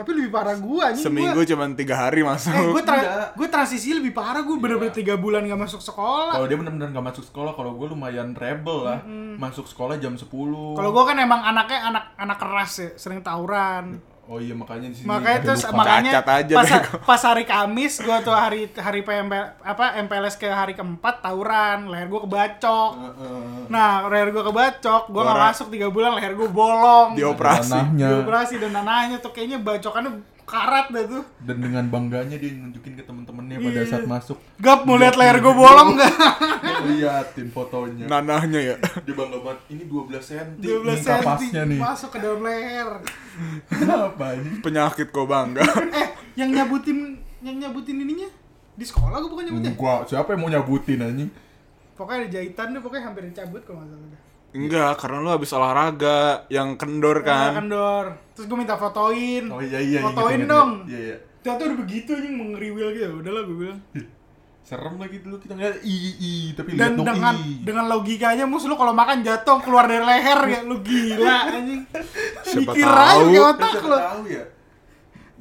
Speaker 1: tapi lebih parah gua nih
Speaker 2: Seminggu cuman tiga hari
Speaker 1: gua, eh
Speaker 2: masuk.
Speaker 1: gua, tra-
Speaker 3: Enggak.
Speaker 1: gua transisi lebih parah gua bener-bener tiga bulan gak masuk sekolah
Speaker 3: Kalau dia bener-bener gak masuk sekolah, kalau gue lumayan rebel lah Masuk sekolah jam 10
Speaker 1: kalau gua kan emang anaknya anak anak keras ya sering tawuran
Speaker 3: Oh iya makanya di sini
Speaker 1: makanya
Speaker 3: ada
Speaker 1: terus
Speaker 3: lupa.
Speaker 1: makanya
Speaker 2: Cacat aja
Speaker 1: pas,
Speaker 2: bego.
Speaker 1: pas hari Kamis gua tuh hari hari PMP, apa MPLS ke hari keempat tawuran leher gua kebacok
Speaker 3: Heeh.
Speaker 1: nah leher gua kebacok gua gak
Speaker 2: Ora.
Speaker 1: masuk tiga bulan leher gua bolong
Speaker 2: Dioperasi.
Speaker 3: Ranahnya.
Speaker 1: dioperasi dan nanahnya tuh kayaknya bacokannya karat dah tuh
Speaker 3: dan dengan bangganya dia nunjukin ke temen-temennya pada
Speaker 1: Iya.
Speaker 3: saat masuk
Speaker 1: Gap mau lihat layar gue bolong gak?
Speaker 3: dia liatin fotonya
Speaker 2: Nanahnya ya.
Speaker 3: dia bangga banget ini 12 cm
Speaker 1: 12
Speaker 3: ini kapasnya
Speaker 1: cm
Speaker 3: nih
Speaker 1: masuk ke dalam leher.
Speaker 3: kenapa ini
Speaker 2: Penyakit kok bangga.
Speaker 1: Eh, yang nyabutin yang nyabutin ininya di sekolah gue bukan nyabutnya.
Speaker 3: Enggak, siapa yang mau nyabutin anjing Hmm.
Speaker 1: Pokoknya ada jahitan deh, pokoknya hampir dicabut kalau nggak salah.
Speaker 2: Enggak, karena lu habis olahraga yang kendor
Speaker 1: Kan.
Speaker 2: kan.
Speaker 1: kendor. Terus gue minta fotoin.
Speaker 3: oh iya iya ingat,
Speaker 1: Fotoin
Speaker 3: ingat,
Speaker 1: dong.
Speaker 3: ingat. iya iya
Speaker 1: Ternyata udah begitu anjing mengeriwil gitu. Udahlah gue bilang.
Speaker 3: serem lagi dulu kita ngeliat i i tapi lihat
Speaker 1: Dan
Speaker 3: dong
Speaker 1: dengan
Speaker 3: i
Speaker 1: dengan logikanya mus lu kalau makan jatuh keluar dari leher ya lu gila anjing.
Speaker 2: Siapa
Speaker 1: Mikir aja
Speaker 2: tahu.
Speaker 1: ke
Speaker 3: Kan
Speaker 1: otak
Speaker 3: siapa
Speaker 1: lu.
Speaker 3: tahu ya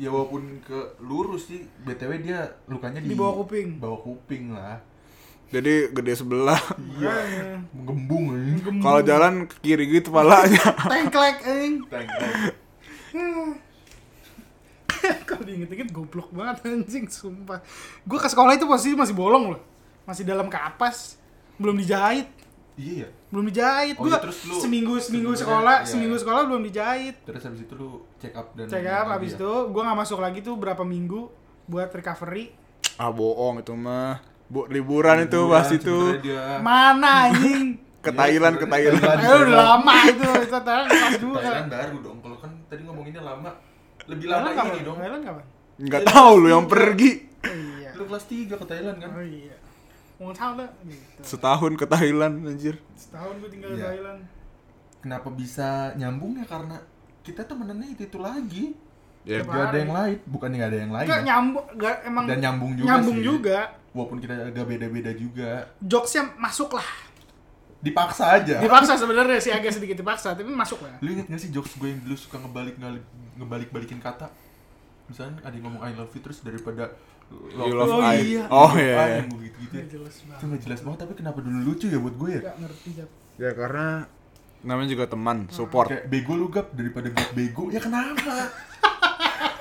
Speaker 3: ya walaupun ke lurus sih btw dia lukanya di,
Speaker 1: Di bawah kuping.
Speaker 3: bawah kuping lah
Speaker 2: Jadi gede sebelah.
Speaker 3: Iya.
Speaker 1: Makanya.
Speaker 3: menggembung anjing
Speaker 2: Kalau jalan ke kiri gitu palanya.
Speaker 1: Tengklek anjing.
Speaker 3: Tengok.
Speaker 1: Kalau diinget-inget goblok banget anjing, sumpah. Gue ke sekolah itu posisi masih bolong loh. Masih dalam kapas, belum dijahit.
Speaker 3: iya ya
Speaker 1: Belum dijahit.
Speaker 3: Oh,
Speaker 1: Gue
Speaker 3: iya, terus lu
Speaker 1: seminggu seminggu
Speaker 3: seminggu
Speaker 1: sekolah,
Speaker 3: ya, iya.
Speaker 1: seminggu sekolah belum dijahit.
Speaker 3: terus habis itu lu check up dan
Speaker 1: Check up
Speaker 3: lagi
Speaker 1: abis
Speaker 3: ya?
Speaker 1: itu gue nggak masuk lagi tuh berapa minggu buat recovery.
Speaker 2: ah bohong itu mah. Bu, liburan Kan itu
Speaker 3: Liburan,
Speaker 2: pas itu
Speaker 3: sebenarnya Iya, dia
Speaker 1: Mana anjing?
Speaker 2: ke Thailand ke Thailand.
Speaker 1: Ayo udah lama itu, itu Thailand kelas dua.
Speaker 3: Thailand baru dong kalau kan tadi ngomonginnya lama lebih lama
Speaker 1: Thailand kapan?
Speaker 3: ini dong
Speaker 1: Thailand kapan?
Speaker 2: Enggak tahu lu yang pergi.
Speaker 1: Oh, Iya.
Speaker 3: lu kelas 3 ke Thailand kan
Speaker 1: Oh iya. Mau tahu lah. Gitu.
Speaker 2: Setahun ke Thailand anjir.
Speaker 1: Setahun gue tinggal di
Speaker 3: Iya.
Speaker 1: Thailand.
Speaker 3: kenapa bisa nyambung ya karena kita temenannya itu itu lagi
Speaker 2: Ya,
Speaker 1: Coba.
Speaker 3: gak ada yang lain bukan gak ada yang lain
Speaker 1: Enggak
Speaker 3: ya.
Speaker 1: nyambung, nggak emang
Speaker 3: dan nyambung juga
Speaker 1: nyambung
Speaker 3: sih.
Speaker 1: juga.
Speaker 3: walaupun kita agak beda-beda juga
Speaker 1: jokesnya masuk lah
Speaker 3: dipaksa aja
Speaker 1: dipaksa sebenarnya sih agak sedikit dipaksa tapi masuk lah
Speaker 3: lu inget gak sih jokes gue yang dulu suka ngebalik ngebalik balikin kata misalnya ada yang ngomong I love you terus daripada
Speaker 2: You love
Speaker 1: Oh,
Speaker 2: I.
Speaker 1: iya.
Speaker 2: Oh iya.
Speaker 3: gitu gitu
Speaker 1: Nggak jelas
Speaker 3: itu
Speaker 1: banget
Speaker 3: gak jelas banget tapi kenapa dulu lucu ya buat gue ya
Speaker 1: nggak ngerti Jap.
Speaker 2: Ya karena namanya juga teman, support.
Speaker 3: kayak bego lu gap daripada gap bego ya kenapa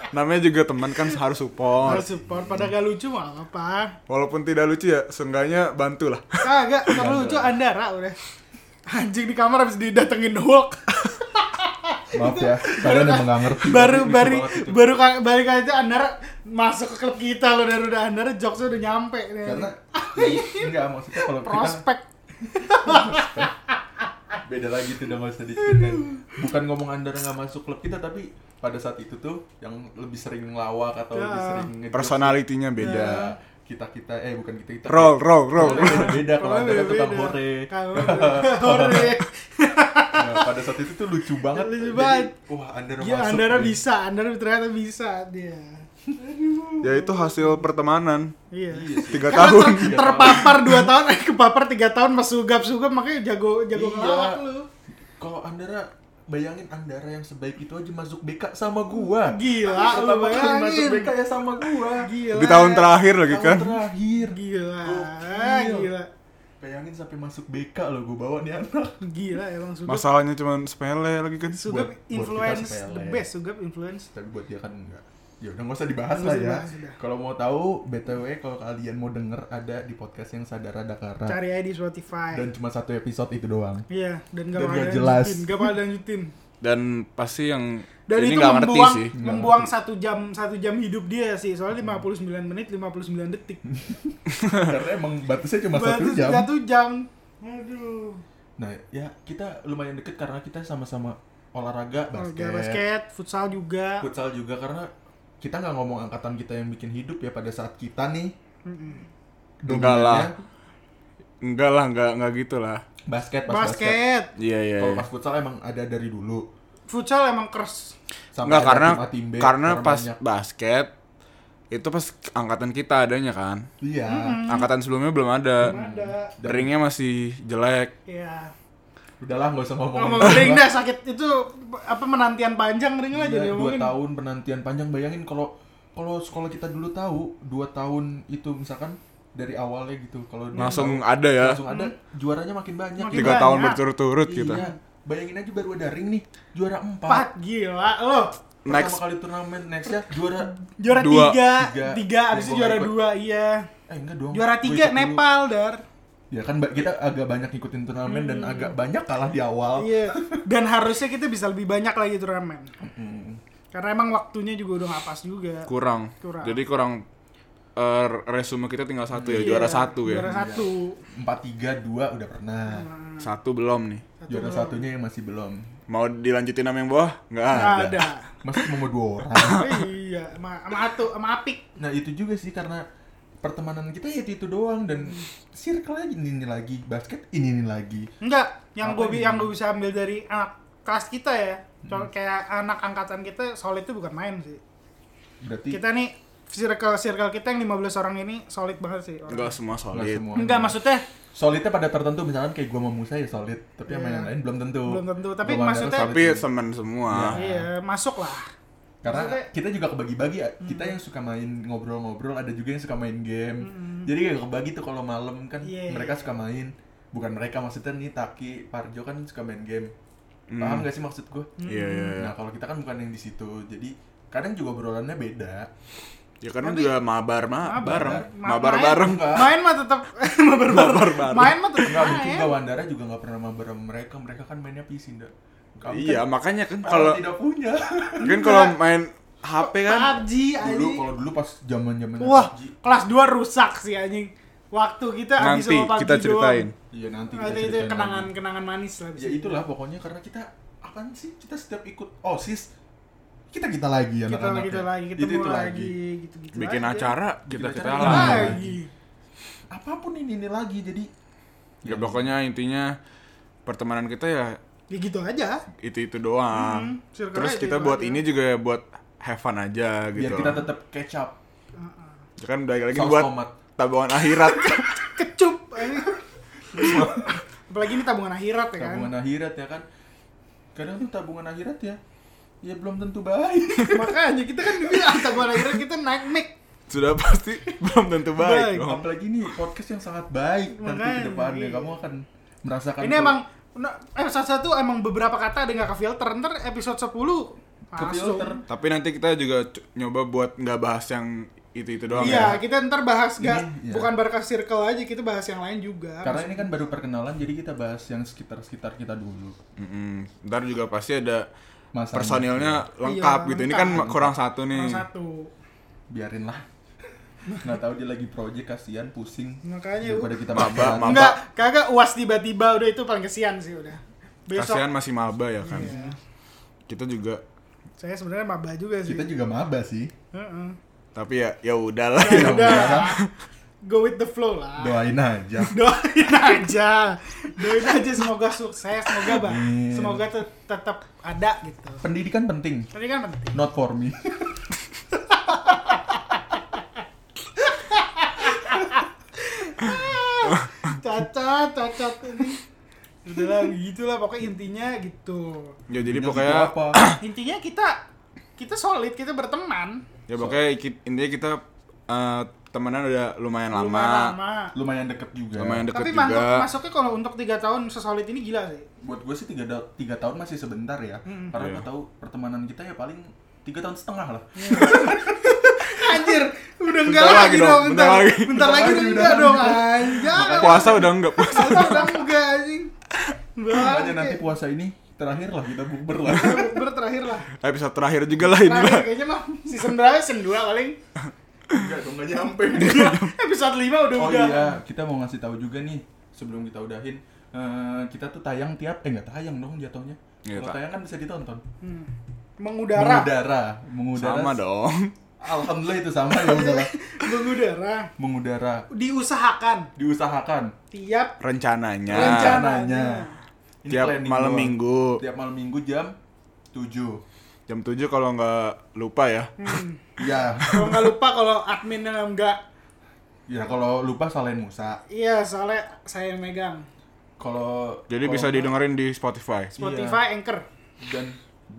Speaker 2: Namanya juga teman kan harus support.
Speaker 3: Oh.
Speaker 1: harus support pada gak lucu mah nggak apa
Speaker 2: Walaupun tidak lucu ya, seenggaknya bantu lah.
Speaker 1: kagak kalau lucu andara udah anjing di kamar habis didatengin Hulk
Speaker 3: maaf ya kalian emang gak ngerti
Speaker 1: baru
Speaker 3: Lucu
Speaker 1: baru
Speaker 3: banget itu.
Speaker 1: baru ka- balik aja andara masuk ke klub kita loh dari udah andara jokesnya udah nyampe nih.
Speaker 3: karena iya, enggak maksudnya kalau
Speaker 1: Iya.
Speaker 3: kita
Speaker 1: prospek
Speaker 3: beda lagi tuh udah gak usah diceritain bukan ngomong andara nggak masuk klub kita tapi pada saat itu tuh yang lebih sering ngelawak atau lebih
Speaker 1: Ya.
Speaker 3: sering nge-
Speaker 2: Personalitinya beda.
Speaker 3: Nah, kita kita eh bukan kita kita
Speaker 2: Roll, roll, roll.
Speaker 3: beda Iya, kalau
Speaker 1: Kalau
Speaker 3: antara tukang
Speaker 1: beda-beda.
Speaker 3: hore
Speaker 1: Kalau hore.
Speaker 3: nah, pada saat itu tuh lucu banget
Speaker 1: Lucu
Speaker 3: Jadi,
Speaker 1: banget.
Speaker 3: wah Andara
Speaker 1: Iya,
Speaker 3: masuk
Speaker 1: Andara
Speaker 3: nih.
Speaker 1: bisa, Andara ternyata bisa dia. Aduh.
Speaker 2: Ya itu hasil pertemanan.
Speaker 1: Iya.
Speaker 3: Iya sih.
Speaker 2: Tiga
Speaker 1: Karena
Speaker 2: tahun.
Speaker 1: ter- terpapar 2 tahun, eh kepapar 3 tahun mas sugap-sugap makanya jago jago
Speaker 3: Iya.
Speaker 1: ngelawak lu.
Speaker 3: kalau Andara bayangin Andara yang sebaik itu aja masuk BK sama gua
Speaker 1: Gila, lu
Speaker 3: Pertama kali masuk
Speaker 1: bayangin.
Speaker 3: BK ya sama gua
Speaker 1: Gila.
Speaker 2: Di tahun terakhir lagi
Speaker 3: Tahun
Speaker 2: kan.
Speaker 3: terakhir
Speaker 1: Gila.
Speaker 3: Gokil.
Speaker 1: Gila.
Speaker 3: bayangin sampai masuk BK loh gua bawa nih anak
Speaker 1: Gila emang sugap.
Speaker 2: Masalahnya cuman sepele lagi kan.
Speaker 1: Sugap
Speaker 3: Buat- buat kita
Speaker 1: influence
Speaker 3: sepele.
Speaker 1: the best, sugap influence.
Speaker 3: tapi buat dia kan enggak ya udah nggak usah dibahas
Speaker 1: Nggak
Speaker 3: lah
Speaker 1: usah
Speaker 3: ya
Speaker 1: dibahas, udah.
Speaker 3: kalau mau tahu btw kalau kalian mau denger ada di podcast yang sadara dakara
Speaker 1: Cari aja di Spotify.
Speaker 3: Nah. dan cuma satu episode itu doang
Speaker 1: Iya, dan gak
Speaker 3: Dan
Speaker 1: bakal
Speaker 3: gak jelas.
Speaker 1: lanjutin, gak bakal lanjutin.
Speaker 2: Dan pasti yang
Speaker 1: Dan
Speaker 2: ini
Speaker 1: itu
Speaker 2: nggak ngerti
Speaker 1: membuang,
Speaker 2: sih.
Speaker 3: Nggak
Speaker 1: membuang
Speaker 3: ngerti.
Speaker 1: satu jam satu jam hidup dia sih.
Speaker 3: Hmm.
Speaker 1: Soalnya 59 menit, 59 detik.
Speaker 3: karena emang batasnya cuma satu
Speaker 1: Berarti
Speaker 3: jam
Speaker 1: Satu jam. Aduh.
Speaker 3: nah ya kita lumayan deket karena kita sama-sama olahraga
Speaker 1: Basket.
Speaker 3: basket,
Speaker 1: basket, futsal juga.
Speaker 3: futsal juga karena kita nggak ngomong angkatan kita yang bikin hidup ya pada saat kita nih
Speaker 2: Enggak lah.
Speaker 3: dominannya
Speaker 2: Enggak lah, enggak enggak gitu lah.
Speaker 3: basket pas basket,
Speaker 1: basket.
Speaker 2: Iya, iya.
Speaker 3: kalau
Speaker 2: iya.
Speaker 3: pas futsal emang ada dari dulu
Speaker 1: Futsal emang kers.
Speaker 2: Enggak
Speaker 3: ada
Speaker 2: karena
Speaker 3: tim-A, tim B,
Speaker 2: karena pas
Speaker 3: banyak.
Speaker 2: basket itu pas angkatan kita adanya kan.
Speaker 3: iya
Speaker 2: Angkatan sebelumnya belum ada.
Speaker 1: Ada.
Speaker 2: Ringnya masih jelek.
Speaker 1: Ya.
Speaker 3: udahlah nggak usah ngomong
Speaker 1: Ngomong ring dah sakit itu apa menantian panjang ring lah jadi
Speaker 3: Iya, dua
Speaker 1: ngomongin.
Speaker 3: tahun penantian panjang bayangin kalau kalau sekolah kita dulu tahu dua tahun itu misalkan dari awalnya gitu kalau dia
Speaker 2: Langsung
Speaker 3: tahu,
Speaker 2: ada ya.
Speaker 3: langsung ada juaranya makin banyak
Speaker 1: Makin
Speaker 2: Tiga
Speaker 1: banyak.
Speaker 2: tahun berturut-turut gitu.
Speaker 3: iya bayangin aja baru ada ring nih juara empat
Speaker 1: Empat gila lo.
Speaker 3: pertama
Speaker 2: Next
Speaker 3: kali turnamen nextnya juara
Speaker 1: Juara
Speaker 2: Dua.
Speaker 1: tiga,
Speaker 3: Tiga.
Speaker 1: tiga, abis
Speaker 3: Yang
Speaker 1: itu
Speaker 3: gua
Speaker 1: juara
Speaker 3: ikut.
Speaker 1: dua, iya.
Speaker 3: eh enggak dong
Speaker 1: Juara
Speaker 3: Gua
Speaker 1: tiga
Speaker 3: ikut dulu.
Speaker 1: Nepal dar.
Speaker 3: ya kan Mbak, kita agak banyak ngikutin turnamen dan agak banyak kalah di awal
Speaker 1: Hmm. Iya. Dan harusnya kita bisa lebih banyak lagi turnamen.
Speaker 3: Hmm.
Speaker 1: Karena emang waktunya juga udah nggak pas juga.
Speaker 2: kurang.
Speaker 1: Kurang.
Speaker 2: Jadi kurang eh, resume kita tinggal satu ya,
Speaker 1: Iya,
Speaker 2: juara satu ya.
Speaker 1: Juara satu.
Speaker 3: empat tiga dua udah pernah
Speaker 1: Iya.
Speaker 2: Satu belum nih.
Speaker 3: Iya. juara
Speaker 1: doang.
Speaker 3: satunya yang masih belum
Speaker 2: Mau dilanjutin sama yang bawah? Nggak ada.
Speaker 1: Nggak ada.
Speaker 3: masih cuma dua orang
Speaker 1: iya, sama sama Atu, sama Apik.
Speaker 3: Nah itu juga sih karena pertemanan kita ya itu, itu doang dan circle aja ini, ini lagi basket ini ini lagi.
Speaker 1: Enggak, yang
Speaker 3: Apa
Speaker 1: gue
Speaker 3: ini?
Speaker 1: yang gue bisa ambil dari anak kelas kita ya.
Speaker 3: Hmm.
Speaker 1: Contoh kayak anak angkatan kita solid itu bukan main sih.
Speaker 3: Berarti
Speaker 1: Kita nih circle circle kita yang 15 orang ini solid banget sih. orang.
Speaker 2: Nggak semua
Speaker 3: nggak
Speaker 2: solid.
Speaker 3: semuanya.
Speaker 1: Enggak maksudnya
Speaker 3: Solidnya pada tertentu misalkan kayak gua sama Musa ya solid, tapi
Speaker 1: Iya.
Speaker 3: sama yang lain belum tentu.
Speaker 1: Belum tentu, tapi
Speaker 3: Gua sama
Speaker 1: maksudnya-
Speaker 3: Andara solid
Speaker 2: Tapi
Speaker 3: sih.
Speaker 2: teman semua.
Speaker 3: Iya.
Speaker 1: iya, masuk lah.
Speaker 3: karena
Speaker 1: maksudnya-
Speaker 3: kita juga kebagi-bagi kita yang suka main ngobrol-ngobrol ada juga yang suka main game. Jadi kayak kebagi tuh kalau malam kan
Speaker 1: Iya.
Speaker 3: mereka suka main bukan mereka maksudnya nih Taki, Parjo kan suka main game. Paham gak sih maksud gua?
Speaker 2: Mm. Iya, iya. iya.
Speaker 3: Nah, kalau kita kan bukan yang di situ. Jadi kadang juga obrolannya beda.
Speaker 2: Ya karena juga mabar
Speaker 1: Mabar.
Speaker 2: ma bareng,
Speaker 1: Ma-
Speaker 2: mabar
Speaker 1: main.
Speaker 2: bareng.
Speaker 3: Enggak.
Speaker 1: Main mah tetap mabar
Speaker 2: Mabar bareng.
Speaker 1: Main mah tetap
Speaker 3: Enggak mungkin
Speaker 1: main.
Speaker 3: enggak Wandara juga enggak pernah mabar sama mereka. Mereka kan mainnya PC, Ndak. Kamu
Speaker 2: Iya,
Speaker 3: kan
Speaker 2: makanya kan
Speaker 3: malah
Speaker 2: kalau
Speaker 3: tidak punya.
Speaker 2: kan kalau main HP kan
Speaker 1: PUBG
Speaker 3: Iya dulu
Speaker 1: anjing.
Speaker 3: kalau dulu pas zaman-zaman
Speaker 1: Wah, kelas 2 rusak sih anjing. Waktu kita habis
Speaker 2: nanti
Speaker 1: sama PUBG
Speaker 2: kita ceritain.
Speaker 1: doang.
Speaker 3: Iya nanti kita
Speaker 1: Nanti itu
Speaker 3: ceritain lagi.
Speaker 1: kenangan-kenangan manis lah. di
Speaker 3: Ya
Speaker 1: situ.
Speaker 3: itulah pokoknya karena kita apaan sih? Kita setiap ikut OSIS kita kita lagi
Speaker 1: Kita
Speaker 3: anak-anak.
Speaker 1: lagi, kita lagi,
Speaker 3: ya. Itu
Speaker 1: ketemu
Speaker 3: itu
Speaker 1: lagi, gitu-gitu
Speaker 2: Bikin
Speaker 1: aja.
Speaker 2: acara kita-kita
Speaker 3: acara.
Speaker 2: lah.
Speaker 1: lagi.
Speaker 3: Apapun ini ini lagi jadi
Speaker 1: Gitu.
Speaker 2: Ya pokoknya intinya pertemanan kita ya
Speaker 1: Ya gitu aja.
Speaker 2: itu itu
Speaker 1: Hmm,
Speaker 2: doang.
Speaker 1: circle-nya
Speaker 2: Terus
Speaker 1: itu
Speaker 2: kita
Speaker 1: itu
Speaker 2: buat
Speaker 1: aja.
Speaker 2: ini juga ya, buat have fun aja gitu.
Speaker 3: biar kita tetap catch up.
Speaker 2: Ya kan balik lagi
Speaker 3: Saus
Speaker 2: buat
Speaker 3: tomat.
Speaker 2: tabungan akhirat.
Speaker 1: Kecup. anjing. Apalagi ini tabungan akhirat ya kan.
Speaker 3: Tabungan akhirat ya kan. Kadang tuh tabungan akhirat ya ya belum tentu baik.
Speaker 1: Makanya kita kan bilang tabungan akhirat kita naik mic.
Speaker 2: Sudah pasti belum tentu
Speaker 1: Baik.
Speaker 2: baik. dong.
Speaker 3: Iya. Apalagi ini podcast yang sangat baik nanti
Speaker 1: Makanya,
Speaker 3: ke depannya
Speaker 1: iya.
Speaker 3: kamu akan merasakan
Speaker 1: Ini
Speaker 3: ke-
Speaker 1: emang no- episode satu emang beberapa kata ada nggak ke filter ntar episode 10
Speaker 3: ke
Speaker 1: langsung.
Speaker 3: filter.
Speaker 2: Tapi nanti kita juga c- nyoba buat nggak bahas yang itu itu doang
Speaker 1: Iya,
Speaker 2: ya.
Speaker 1: kita ntar bahas gak,
Speaker 3: Ini, iya.
Speaker 1: bukan barca circle aja, kita bahas yang lain juga.
Speaker 3: Karena ini kan baru perkenalan jadi kita bahas yang sekitar-sekitar kita dulu.
Speaker 2: Mm-mm. Ntar juga pasti ada
Speaker 3: Masa
Speaker 2: personilnya lengkap
Speaker 1: Iya,
Speaker 2: gitu. Ini
Speaker 1: lengkap.
Speaker 2: kan kurang satu nih.
Speaker 1: Nomor satu.
Speaker 3: biarin lah. Nggak tahu dia lagi project kasihan pusing.
Speaker 1: Makanya,
Speaker 3: daripada kita
Speaker 2: Maba,
Speaker 3: makan.
Speaker 2: maba.
Speaker 1: Enggak, kagak uas tiba-tiba udah itu paling kesian sih udah. Besok.
Speaker 2: Kasihan masih maba ya kan.
Speaker 1: Iya.
Speaker 2: Kita juga
Speaker 1: Saya sebenarnya maba juga sih.
Speaker 3: Kita juga maba sih.
Speaker 1: Heeh. Iya.
Speaker 3: Iya,
Speaker 2: tapi ya ya udahlah.
Speaker 1: Ya udah. go with the flow lah
Speaker 3: doain aja
Speaker 1: doain aja doain aja semoga sukses semoga bah
Speaker 3: Amin.
Speaker 1: semoga te- tetap ada gitu
Speaker 3: pendidikan penting
Speaker 1: tapi kan penting
Speaker 3: not for me
Speaker 1: cacat cacat ini udahlah gitulah pokoknya intinya gitu
Speaker 2: ya jadi
Speaker 3: Pendidikan
Speaker 2: pokoknya
Speaker 3: itu apa
Speaker 1: intinya kita kita solid kita berteman
Speaker 2: ya pokoknya ki- intinya kita eh, temenan udah lumayan lama
Speaker 1: Lumayan
Speaker 2: lumayan,
Speaker 1: lama
Speaker 3: lumayan deket juga
Speaker 2: deket
Speaker 1: tapi
Speaker 2: juga
Speaker 1: mantap masuknya kalau untuk tiga tahun sesolid ini gila sih
Speaker 3: buat gue sih tiga, da- tiga tahun masih sebentar ya karena
Speaker 2: Iya.
Speaker 3: gue tahu pertemanan kita ya paling tiga tahun setengah lah
Speaker 1: anjir udah enggak
Speaker 2: Bentar
Speaker 1: lagi
Speaker 2: lagi
Speaker 1: dong
Speaker 2: dong,
Speaker 1: bentar
Speaker 2: bentar lagi.
Speaker 1: bentar lagi udah
Speaker 3: Bentar lagi,
Speaker 1: enggak
Speaker 3: udah.
Speaker 1: dong anjir
Speaker 2: puasa udah enggak puasa
Speaker 1: Puasa udah enggak anjing
Speaker 3: makanya nanti
Speaker 1: Bangke.
Speaker 3: puasa ini terakhir lah kita bukber lah
Speaker 1: Bukber terakhir lah
Speaker 2: episode terakhir juga lah ini
Speaker 1: Terakhir
Speaker 2: lah
Speaker 1: Nah, kayaknya mah Season berapa? Season 2 paling
Speaker 3: enggak dong nggak nyampe
Speaker 1: Episode 5 udah
Speaker 3: oh
Speaker 1: udah
Speaker 3: iya kita mau ngasih tahu juga nih sebelum kita udahin eh, kita tuh tayang tiap eh nggak tayang dong jatuhnya
Speaker 2: Iya,
Speaker 3: kalau
Speaker 2: tak.
Speaker 3: tayang kan bisa ditonton
Speaker 1: Hmm. Mengudara
Speaker 3: mengudara mengudara
Speaker 2: sama dong
Speaker 3: alhamdulillah itu sama ya udahlah
Speaker 1: Mengudara
Speaker 3: mengudara
Speaker 1: Diusahakan
Speaker 3: diusahakan
Speaker 1: Tiap
Speaker 2: rencananya
Speaker 1: rencananya
Speaker 3: Ini
Speaker 2: Nah. tiap
Speaker 3: planning
Speaker 2: malam
Speaker 3: doang.
Speaker 2: minggu
Speaker 3: tiap malam minggu jam 7
Speaker 2: jam 7 kalau nggak lupa ya
Speaker 1: Hmm.
Speaker 3: ya
Speaker 1: Kalau nggak lupa kalau adminnya nggak
Speaker 3: ya kalau lupa salahin Musa
Speaker 1: Iya soalnya saya yang megang
Speaker 3: kalau
Speaker 2: jadi
Speaker 3: kalau
Speaker 2: bisa
Speaker 3: nggak-
Speaker 2: didengerin di Spotify
Speaker 3: Iya.
Speaker 1: Spotify, Anchor
Speaker 3: dan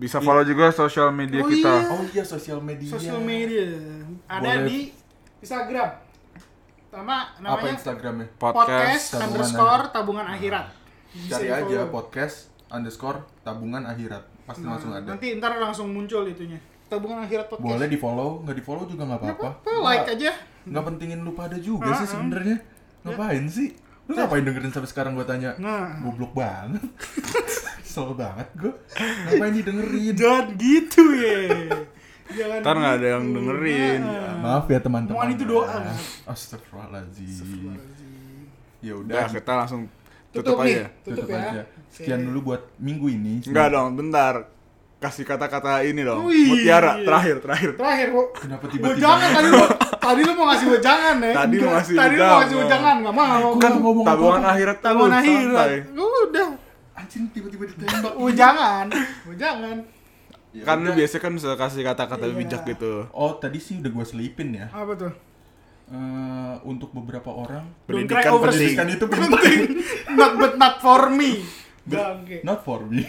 Speaker 2: bisa
Speaker 3: Iya.
Speaker 2: follow juga sosial media
Speaker 1: Oh,
Speaker 2: kita
Speaker 1: iya.
Speaker 3: oh iya sosial media
Speaker 1: Social media Ada
Speaker 3: Boleh.
Speaker 1: di Instagram Sama
Speaker 3: apa
Speaker 1: namanya
Speaker 3: Instagramnya
Speaker 1: podcast,
Speaker 2: podcast
Speaker 3: Tabungan
Speaker 1: underscore tabungan akhirat. Bisa di
Speaker 3: cari aja
Speaker 1: follow.
Speaker 3: podcast underscore tabungan akhirat pasti langsung ada
Speaker 1: Nah, Nanti ntar langsung muncul itunya. Tabungan akhirat podcast.
Speaker 3: boleh di follow nggak di follow juga nggak
Speaker 1: Nggak
Speaker 3: apa-apa
Speaker 1: apa-apa, like Ah,
Speaker 3: Nggak-
Speaker 1: aja.
Speaker 3: nggak pentingin lu pada juga sih sebenarnya ngapain sih lu ngapain dengerin sampai sekarang gua tanya
Speaker 1: Ya. Nah.
Speaker 3: goblok banget Kesel banget gua ngapain didengerin
Speaker 1: Dan gitu ya. Jangan. gitu. Ah.
Speaker 2: ntar nggak ada yang dengerin
Speaker 3: maaf ya teman-teman
Speaker 1: Mohon itu doa.
Speaker 3: astagfirullahaladzim
Speaker 1: Astagfirullahaladzim.
Speaker 3: ya
Speaker 2: udah
Speaker 3: udah
Speaker 2: kita langsung
Speaker 1: Tutup,
Speaker 2: tutup,
Speaker 1: nih.
Speaker 2: aja
Speaker 1: Tutup,
Speaker 3: tutup
Speaker 1: ya.
Speaker 3: aja sekian dulu buat minggu ini
Speaker 2: Enggak dong, bentar. Kasih kata-kata ini dong.
Speaker 1: Wih.
Speaker 2: Mutiara terakhir, terakhir.
Speaker 1: Terakhir, Bu.
Speaker 3: kenapa
Speaker 1: Bojangan
Speaker 3: tiba-tiba
Speaker 1: tadi lu. Tadi lu mau ngasih bojangan ya?
Speaker 2: Tadi mau
Speaker 1: Enggak.
Speaker 2: ngasih
Speaker 1: Tadi lu mau
Speaker 2: bojangan.
Speaker 1: ngasih bojangan, enggak mau.
Speaker 3: Gua
Speaker 2: Kan
Speaker 3: Oh, nggak ngomong
Speaker 2: tabungan
Speaker 3: apa-apa.
Speaker 2: akhirat
Speaker 1: Tabungan
Speaker 2: lu,
Speaker 1: akhirat.
Speaker 2: kan santai.
Speaker 1: Udah.
Speaker 3: anjing tiba-tiba ditembak
Speaker 1: Bojangan. Bojangan.
Speaker 3: Ya
Speaker 2: Kan lu
Speaker 3: udah.
Speaker 2: biasanya kan bisa kasih kata-kata
Speaker 1: Iya.
Speaker 2: bijak gitu.
Speaker 3: oh tadi sih udah gua selipin ya
Speaker 1: Apa tuh?
Speaker 3: Eh, untuk beberapa orang
Speaker 1: Don't cry
Speaker 2: Pendidikan
Speaker 1: over
Speaker 2: penting.
Speaker 3: pendidikan itu penting
Speaker 1: not but not for me. Bangke.
Speaker 3: not for me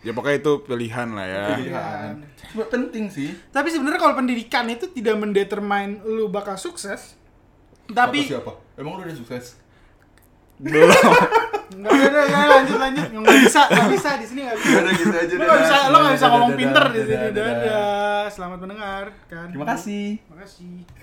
Speaker 2: Ya pokoknya itu pilihan lah ya.
Speaker 3: pilihan cuma penting sih
Speaker 1: Tapi sebenarnya kalau pendidikan itu tidak mendetermine lu bakal sukses. Tapi
Speaker 3: Kata siapa emang lu udah sukses
Speaker 2: Belum.
Speaker 1: nggak ada nggak ada, lanjut lanjut nggak bisa nggak bisa di sini nggak bisa.
Speaker 3: udah gitu aja
Speaker 1: Lu nggak bisa
Speaker 3: dadah.
Speaker 1: lo nggak bisa
Speaker 3: Dadah,
Speaker 1: ngomong
Speaker 3: dadah,
Speaker 1: pinter di
Speaker 3: dadah,
Speaker 1: sini.
Speaker 3: dadah.
Speaker 1: Dadah. Selamat mendengar.
Speaker 3: terima kasih
Speaker 1: Terima kasih.